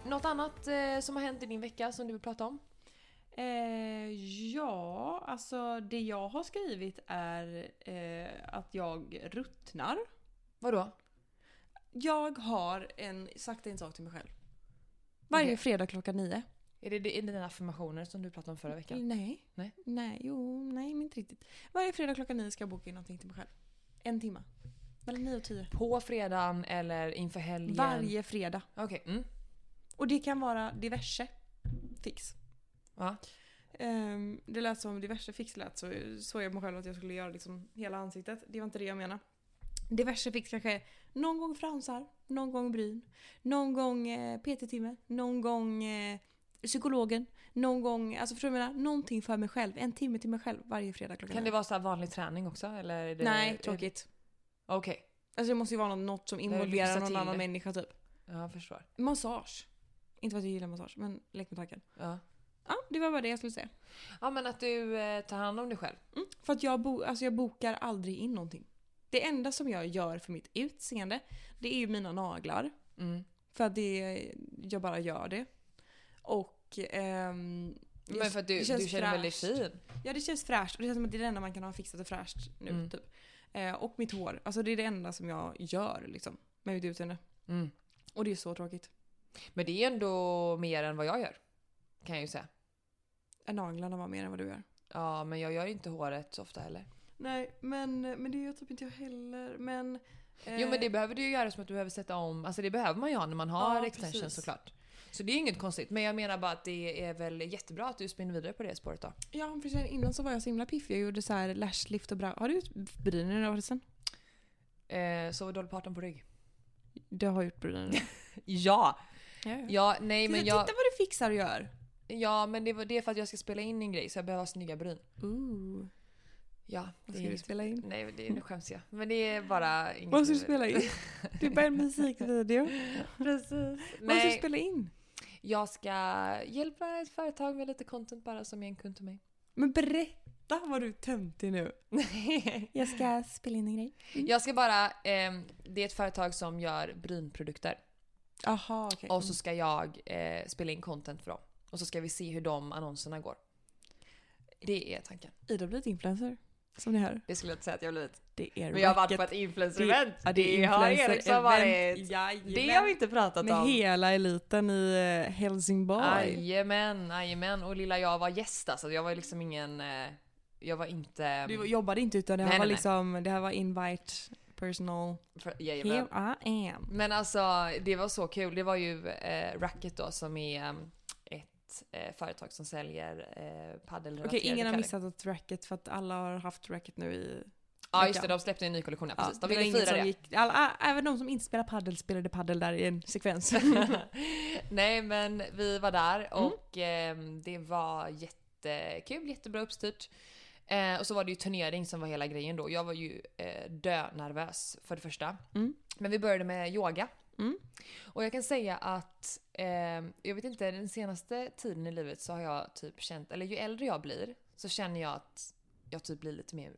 Speaker 3: Något annat eh, som har hänt i din vecka som du vill prata om?
Speaker 2: Eh, ja, alltså det jag har skrivit är eh, att jag ruttnar.
Speaker 3: Vadå?
Speaker 2: Jag har en, sagt en sak till mig själv. Varje
Speaker 3: Okej.
Speaker 2: fredag klockan nio.
Speaker 3: Är det, det är dina affirmationer som du pratade om förra veckan?
Speaker 2: Nej.
Speaker 3: Nej.
Speaker 2: Nej, jo, nej men inte riktigt. Varje fredag klockan nio ska jag boka in någonting till mig själv. En timma. Mellan nio och tio.
Speaker 3: På fredagen eller inför helgen?
Speaker 2: Varje fredag.
Speaker 3: Okej. Mm.
Speaker 2: Och det kan vara diverse fix.
Speaker 3: Ja.
Speaker 2: Ehm, det lät som diverse fix lät så såg jag på mig själv att jag skulle göra liksom hela ansiktet. Det var inte det jag menade. Diverse fix kanske är någon gång fransar, någon gång bryn, någon gång eh, PT-timme, någon gång eh, psykologen, någon gång, alltså förstår du vad jag menar? Någonting för mig själv. En timme till mig själv varje fredag klockan
Speaker 3: Kan det
Speaker 2: nio.
Speaker 3: vara så här vanlig träning också? Eller är det,
Speaker 2: Nej, tråkigt.
Speaker 3: Okej.
Speaker 2: Alltså det måste ju vara något, något som
Speaker 3: vill lyxa
Speaker 2: involverar någon
Speaker 3: till
Speaker 2: annan
Speaker 3: det.
Speaker 2: människa typ.
Speaker 3: Ja, jag förstår.
Speaker 2: Massage. Inte för att jag gillar massage, men lek med tanken.
Speaker 3: Ja.
Speaker 2: Ja, det var bara det jag skulle säga.
Speaker 3: ja, men att du eh, tar hand om dig själv.
Speaker 2: För att jag, bo- alltså jag bokar aldrig in någonting. Det enda som jag gör för mitt utseende, det är ju mina naglar.
Speaker 3: Mm.
Speaker 2: För att det, jag bara gör det. Och... ehm, det-
Speaker 3: Men för att du,
Speaker 2: det
Speaker 3: du
Speaker 2: känns
Speaker 3: känner dig väldigt
Speaker 2: fräscht.
Speaker 3: fin.
Speaker 2: Ja det känns fräscht och det känns som att det är det enda man kan ha fixat och fräscht nu
Speaker 3: Mm.
Speaker 2: typ. Eh, och mitt hår. Alltså det är det enda som jag gör liksom. Med mitt utseende.
Speaker 3: Mm.
Speaker 2: Och det är så tråkigt.
Speaker 3: Men det är ändå mer än vad jag gör. Kan jag ju säga.
Speaker 2: Eh, Naglarna var mer än vad du gör.
Speaker 3: Ja, men jag gör inte håret så ofta heller.
Speaker 2: Nej men, men det gör typ inte jag heller. Men...
Speaker 3: Jo men det behöver du ju göra som att du behöver sätta om, alltså det behöver man ju ha när man har
Speaker 2: Eh. Ja,
Speaker 3: extensions
Speaker 2: precis.
Speaker 3: såklart. Så det är inget konstigt, men jag menar bara att det är väl jättebra att du spinner vidare på det spåret då.
Speaker 2: Ja men för sen, innan så var jag så himla piffig. Jag gjorde så här lash lift och bra. Har du gjort brynen av det sen?
Speaker 3: Eh, så dålig parten på rygg.
Speaker 2: Det har jag gjort brynen.
Speaker 3: Ja!
Speaker 2: ja, ja.
Speaker 3: Ja, nej men
Speaker 2: Titta,
Speaker 3: jag...
Speaker 2: titta vad du fixar och gör.
Speaker 3: Ja men det, var, det är för att jag ska spela in en grej så jag behöver ha snygga bryn.
Speaker 2: Ooh,
Speaker 3: Ja,
Speaker 2: vad
Speaker 3: det är
Speaker 2: ska du
Speaker 3: inget.
Speaker 2: spela in?
Speaker 3: Nej men det, nu skäms jag. Men det är bara inget...
Speaker 2: Vad ska du spela in? Du bara en musikvideo.
Speaker 3: Precis.
Speaker 2: Vad ska du
Speaker 3: Nej,
Speaker 2: spela in?
Speaker 3: jag ska hjälpa ett företag med lite content bara som är en kund till mig.
Speaker 2: Men berätta vad du är töntig nu. Jag ska spela in en grej.
Speaker 3: jag ska bara... ehm, det är ett företag som gör brynprodukter.
Speaker 2: Jaha, okej.
Speaker 3: Och så ska jag eh, spela in content för dem. Och så ska vi se hur de annonserna går. Det är tanken.
Speaker 2: Ida har blivit influencer. Som ni hör.
Speaker 3: Det skulle jag inte säga att jag har blivit.
Speaker 2: Det är
Speaker 3: Men jag har varit
Speaker 2: racket.
Speaker 3: på ett influencer-event.
Speaker 2: Ja,
Speaker 3: Det, har Eriksson varit.
Speaker 2: Jajamän.
Speaker 3: Det har vi inte pratat
Speaker 2: Med
Speaker 3: om.
Speaker 2: hela eliten i eh, Helsingborg.
Speaker 3: Jajamän, jajamän. Och lilla jag var gäst alltså. Jag var ju liksom ingen... eh, Jag var inte...
Speaker 2: Du jobbade inte utan det här
Speaker 3: Ehm, Nej,
Speaker 2: var
Speaker 3: nej, nej.
Speaker 2: liksom, det här var invite personal.
Speaker 3: mm, för- Jajamän.
Speaker 2: Here I am.
Speaker 3: Men alltså det var så kul. Det var ju eh, Racket då som är eh, ett eh, företag som säljer eh,
Speaker 2: Okej,
Speaker 3: padelrelaterade
Speaker 2: ingen har
Speaker 3: kläder.
Speaker 2: missat att racket för att alla har haft racket nu i...
Speaker 3: Ja just det,
Speaker 2: veckan.
Speaker 3: de släppte en ny kollektion. Ja, precis.
Speaker 2: Ja,
Speaker 3: de
Speaker 2: var
Speaker 3: ville
Speaker 2: ingen
Speaker 3: fira
Speaker 2: som
Speaker 3: det.
Speaker 2: Gick, alla, ä- även de som inte spelar paddel spelade paddel där i en sekvens.
Speaker 3: Nej men vi var där
Speaker 2: Mm.
Speaker 3: och ehm, det var jättekul, jättebra uppstyrt. Eh, och så var det ju turnering som var hela grejen då. Jag var ju eh, dönervös för det första.
Speaker 2: Mm.
Speaker 3: Men vi började med yoga.
Speaker 2: Mm.
Speaker 3: Och jag kan säga att, ehm, jag vet inte, den senaste tiden i livet så har jag typ känt, eller ju äldre jag blir så känner jag att jag typ blir lite mer,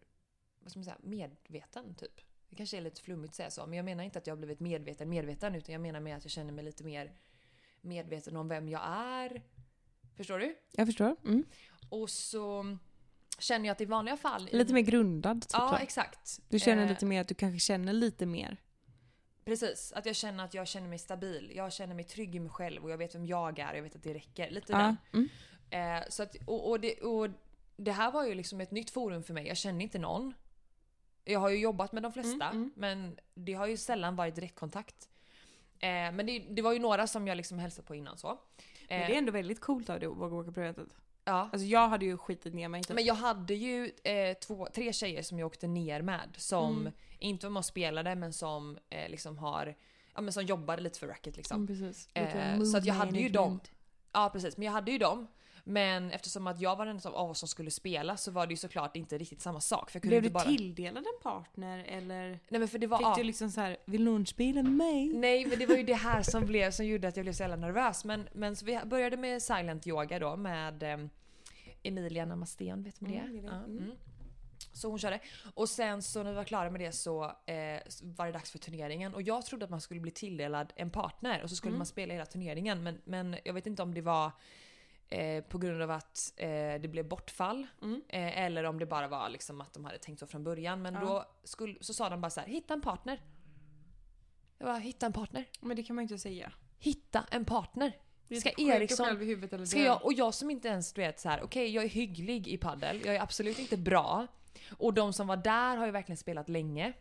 Speaker 3: vad ska man säga, medveten typ. Det kanske är lite flummigt att säga så, men jag menar inte att jag har blivit medveten medveten utan jag menar mer att jag känner mig lite mer medveten om vem jag är. Förstår du?
Speaker 2: Jag förstår. Mm.
Speaker 3: Och så känner jag att i vanliga fall...
Speaker 2: Lite mer grundad. Typ,
Speaker 3: Ja,
Speaker 2: så.
Speaker 3: exakt.
Speaker 2: du känner
Speaker 3: Eh,
Speaker 2: lite mer att du kanske känner lite mer.
Speaker 3: Precis, att jag känner att jag känner mig stabil. Jag känner mig trygg i mig själv och jag vet vem jag är och jag vet att det räcker. Lite
Speaker 2: Ja,
Speaker 3: den.
Speaker 2: mm.
Speaker 3: Eh, så att, och, och, det, och det här var ju liksom ett nytt forum för mig. Jag kände inte någon. Jag har ju jobbat med de flesta
Speaker 2: Mm,
Speaker 3: men det har ju sällan varit direktkontakt. Eh, men det, det var ju några som jag liksom hälsat på innan så. Eh,
Speaker 2: Men det är ändå väldigt coolt av dig att våga åka på eventet.
Speaker 3: ja.
Speaker 2: Alltså jag hade ju skitit ner mig. Typ.
Speaker 3: Men jag hade ju eh, två, tre tjejer som jag åkte ner med som
Speaker 2: Mm.
Speaker 3: inte var med och spelade men som eh, liksom har, ja men som jobbade lite för racket liksom.
Speaker 2: Mm, precis. Lite
Speaker 3: Eh, så att jag
Speaker 2: movement
Speaker 3: hade ju dem.
Speaker 2: management.
Speaker 3: Ja precis, men jag hade ju dem. Men eftersom att jag var den som, av oss som skulle spela så var det ju såklart inte riktigt samma sak. För jag kunde
Speaker 2: Blev
Speaker 3: inte
Speaker 2: du
Speaker 3: bara...
Speaker 2: tilldelad en partner eller?
Speaker 3: Nej men för det var...
Speaker 2: Fick
Speaker 3: ja.
Speaker 2: du liksom så här, vill någon spela med mig?
Speaker 3: Nej men det var ju det här som, blev, som gjorde att jag blev så jävla nervös. Men, men så vi började med silent yoga då med ehm, Emilia Namastén, vet man det?
Speaker 2: Mm, jag vet.
Speaker 3: ja,
Speaker 2: Mm.
Speaker 3: mm. Så hon körde. Och sen så när vi var klara med det så eh, var det dags för turneringen. Och jag trodde att man skulle bli tilldelad en partner och så
Speaker 2: Mm.
Speaker 3: skulle man spela hela turneringen. Men, men jag vet inte om det var eh, på grund av att eh, det blev bortfall.
Speaker 2: Mm.
Speaker 3: Eh, eller om det bara var liksom att de hade tänkt så från början. Men
Speaker 2: Ja.
Speaker 3: då skulle, så sa de bara så här: hitta en partner. Jag bara, hitta en partner.
Speaker 2: Men det kan man ju inte säga.
Speaker 3: Hitta en partner.
Speaker 2: Det är
Speaker 3: Ska
Speaker 2: typ sjuka
Speaker 3: Eriksson...
Speaker 2: själv i huvudet eller
Speaker 3: Ska
Speaker 2: död.
Speaker 3: jag, och jag som inte ens du vet så här, okej jag är hygglig i paddel, jag är absolut inte bra. Och de som var där har ju verkligen spelat länge.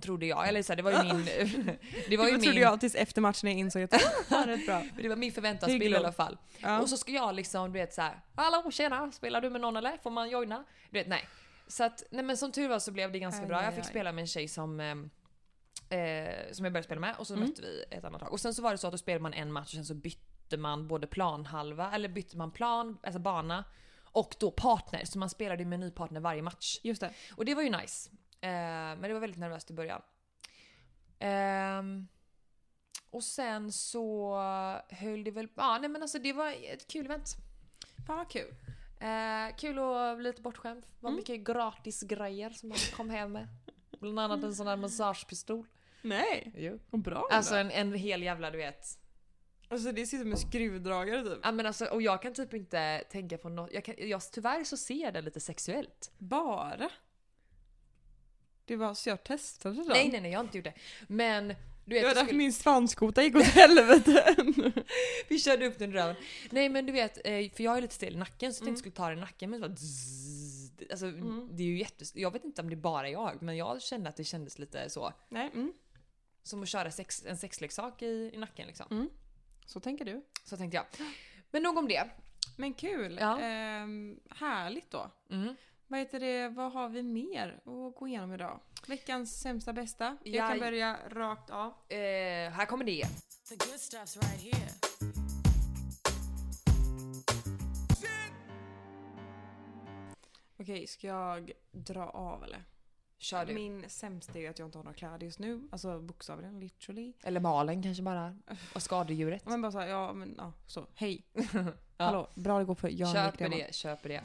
Speaker 3: Trodde jag, eller så här, det var ju min... Det var
Speaker 2: Det
Speaker 3: ju
Speaker 2: trodde
Speaker 3: min,
Speaker 2: jag tills efter matchen jag insåg att det var rätt bra.
Speaker 3: det var min förväntansbild i
Speaker 2: Hygglig.
Speaker 3: alla fall.
Speaker 2: Ja.
Speaker 3: Och så ska jag liksom du vet så här, hallå tjena, spelar du med någon eller? Får man joina? Du vet nej. Så att, nej men som tur var så blev det ganska
Speaker 2: Aj,
Speaker 3: bra.
Speaker 2: aj,
Speaker 3: Jag fick
Speaker 2: aj.
Speaker 3: spela med en tjej som ehm, eh, som jag började spela med och så
Speaker 2: Mm.
Speaker 3: mötte vi ett annat lag. Och sen så var det så att då spelade man en match och sen så bytte man både planhalva, eller bytte man plan, alltså bana och då partner. Så man spelade ju med en ny partner varje match.
Speaker 2: Just det.
Speaker 3: Och det var ju nice. Eh, men det var väldigt nervöst i början. Ehm, och sen så höll det väl... Ja, nej men alltså det var ett kul event.
Speaker 2: Fan vad kul.
Speaker 3: Eh, kul och lite bortskämd. Det var mycket gratis grejer som man kom hem med. Bland annat en sån här massagepistol.
Speaker 2: Nej,
Speaker 3: Jo.
Speaker 2: vad bra
Speaker 3: Alltså
Speaker 2: ändå.
Speaker 3: en, en hel jävla du vet.
Speaker 2: alltså det sitter med skruvdragare typ.
Speaker 3: Ja, men alltså, och jag kan typ inte tänka på något. Jag kan, jag, tyvärr så ser jag det lite sexuellt.
Speaker 2: Bara? Det var så jag testade den.
Speaker 3: Nej nej nej jag har inte gjort det. Men du vet,
Speaker 2: det var
Speaker 3: jag
Speaker 2: därför
Speaker 3: skulle,
Speaker 2: min svanskota gick åt helvete.
Speaker 3: vi körde upp den röven. Nej men du vet, eh, för jag är lite stel i nacken så
Speaker 2: Mm.
Speaker 3: jag tänkte jag skulle ta den i nacken men så bara dzz, Alltså det är ju jättes... Jag vet inte om det är bara jag men jag kände att det kändes lite så.
Speaker 2: Nej, mm.
Speaker 3: Som att köra sex, en sexleksak i, i nacken liksom.
Speaker 2: så tänker du.
Speaker 3: Så tänkte jag. Men nog om det.
Speaker 2: Men kul.
Speaker 3: Ja.
Speaker 2: Ehm, härligt då.
Speaker 3: Mm.
Speaker 2: Vad heter det, vad har vi mer att gå igenom idag? Veckans sämsta bästa. Jag
Speaker 3: Jag-
Speaker 2: kan börja rakt av.
Speaker 3: Eh, här kommer det.
Speaker 5: The good stuff's right here.
Speaker 2: Okej, ska jag dra av eller?
Speaker 3: Kör du.
Speaker 2: Min sämsta är ju att jag inte har några kläder just nu. Alltså bokstavligen, literally.
Speaker 3: Eller malen kanske bara. Och skadedjuret.
Speaker 2: Ja, Men bara såhär, ja men ja, så. Hej. Hallå, bra det går för Jan
Speaker 3: Köper
Speaker 2: Ekman.
Speaker 3: det, köper det.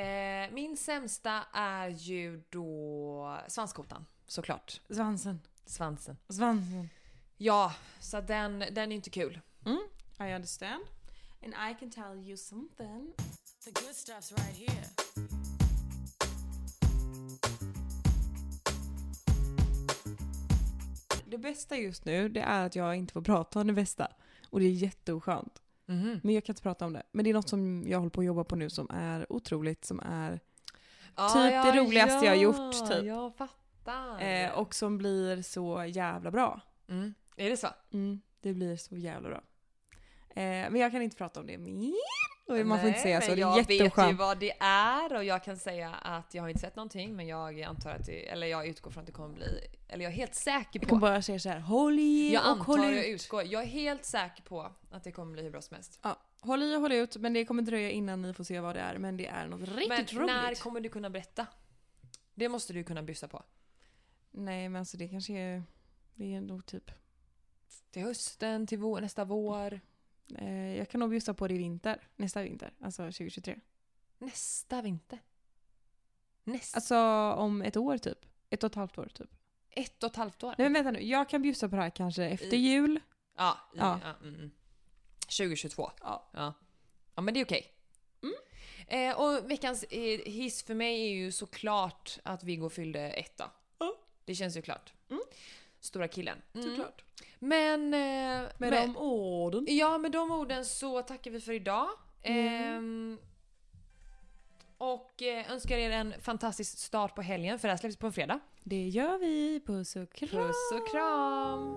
Speaker 3: Eh, min sämsta är ju då svanskotan. Såklart.
Speaker 2: Svansen.
Speaker 3: Svansen.
Speaker 2: Svansen.
Speaker 3: Ja, så den, den är inte kul.
Speaker 2: I understand. And I can tell you something.
Speaker 5: The good stuff's right here.
Speaker 2: Det bästa just nu det är att jag inte får prata om det bästa. Och det är jätteoskönt. Men jag kan inte prata om det. Men det är något som jag håller på att jobba på nu som är otroligt. Som är,
Speaker 3: Ja,
Speaker 2: Typ det roligaste jag har gjort, typ.
Speaker 3: Jag fattar.
Speaker 2: eh, och som blir så jävla bra.
Speaker 3: mm. Är det så?
Speaker 2: Mm, det blir så jävla bra. Eh, men jag kan inte prata om det mer. Och man får inte
Speaker 3: Nej,
Speaker 2: säga så.
Speaker 3: men
Speaker 2: Det är
Speaker 3: jag vet ju
Speaker 2: jätteoskönt.
Speaker 3: vad det är och jag kan säga att jag har inte sett någonting men jag antar att det, eller jag utgår från att det kommer bli, eller jag är helt säker
Speaker 2: Jag
Speaker 3: på.
Speaker 2: kan bara säga så här. Håll i
Speaker 3: Jag
Speaker 2: och håll
Speaker 3: antar, jag
Speaker 2: ut.
Speaker 3: utgår. Jag är helt säker på att det kommer bli hur bra som helst.
Speaker 2: Ja, håll i och håll ut. Men det kommer dröja innan ni får se vad det är. Men det är något riktigt
Speaker 3: Men
Speaker 2: roligt.
Speaker 3: när kommer du kunna berätta? Det måste du kunna bjussa på.
Speaker 2: Nej men alltså det kanske är... Det är nog typ...
Speaker 3: Till hösten, till vår, nästa vår.
Speaker 2: Eh, jag kan nog bjussa på det i vinter. Nästa vinter. Alltså 2023.
Speaker 3: Nästa vinter. Nästa.
Speaker 2: Alltså om ett år typ. Ett och ett halvt år typ.
Speaker 3: ett och ett halvt år.
Speaker 2: Nej men vänta nu. Jag kan bjussa på det här kanske efter
Speaker 3: I-
Speaker 2: jul.
Speaker 3: Ja, i, ja.
Speaker 2: Ja.
Speaker 3: mm, mm. 2022.
Speaker 2: Ja. Mm.
Speaker 3: Ja. ja, men det är okej. Eh, och veckans eh, hiss för mig är ju såklart att Viggo fyllde etta.
Speaker 2: Ja.
Speaker 3: Det känns ju klart.
Speaker 2: Mm.
Speaker 3: Stora killen. Mm.
Speaker 2: Såklart.
Speaker 3: Men... Eh,
Speaker 2: Med
Speaker 3: men-
Speaker 2: de orden.
Speaker 3: Ja, med de orden så tackar vi för idag. Ehm, och eh, önskar er en fantastisk start på helgen för det här släpps på en fredag.
Speaker 2: Det gör vi. Puss och kram.
Speaker 3: Puss och kram!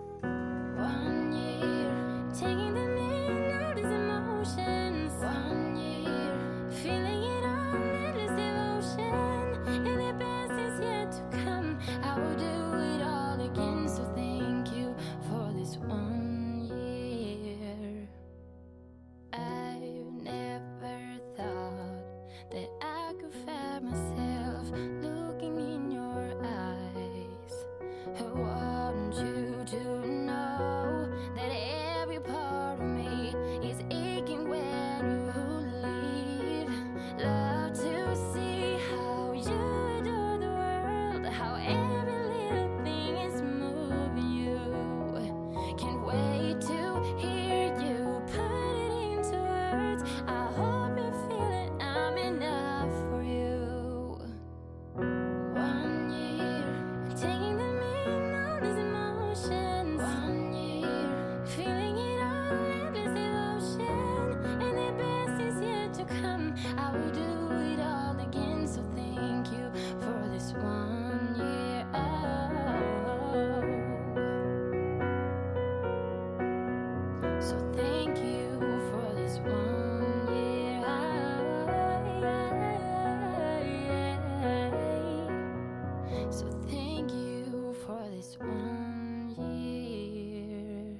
Speaker 6: One year, taking them in, all these emotions. One year, feeling it all, endless devotion. And the best is yet to come. I will do it all again, so thank you for this one year. I never thought that I could find myself looking in your eyes. I want you to know that every part of me is aching when you leave. Love to see how you adore the world, how every little thing is moving you. Can't wait to hear you put it into words. I hope you feel that I'm enough for you. One year, taking them in all these emotions. One year, feeling it all, endless devotion. And the best is yet to come. I will do it all again, so thank you for this one year. Oh. So thank you for this one year. So thank you for this one year.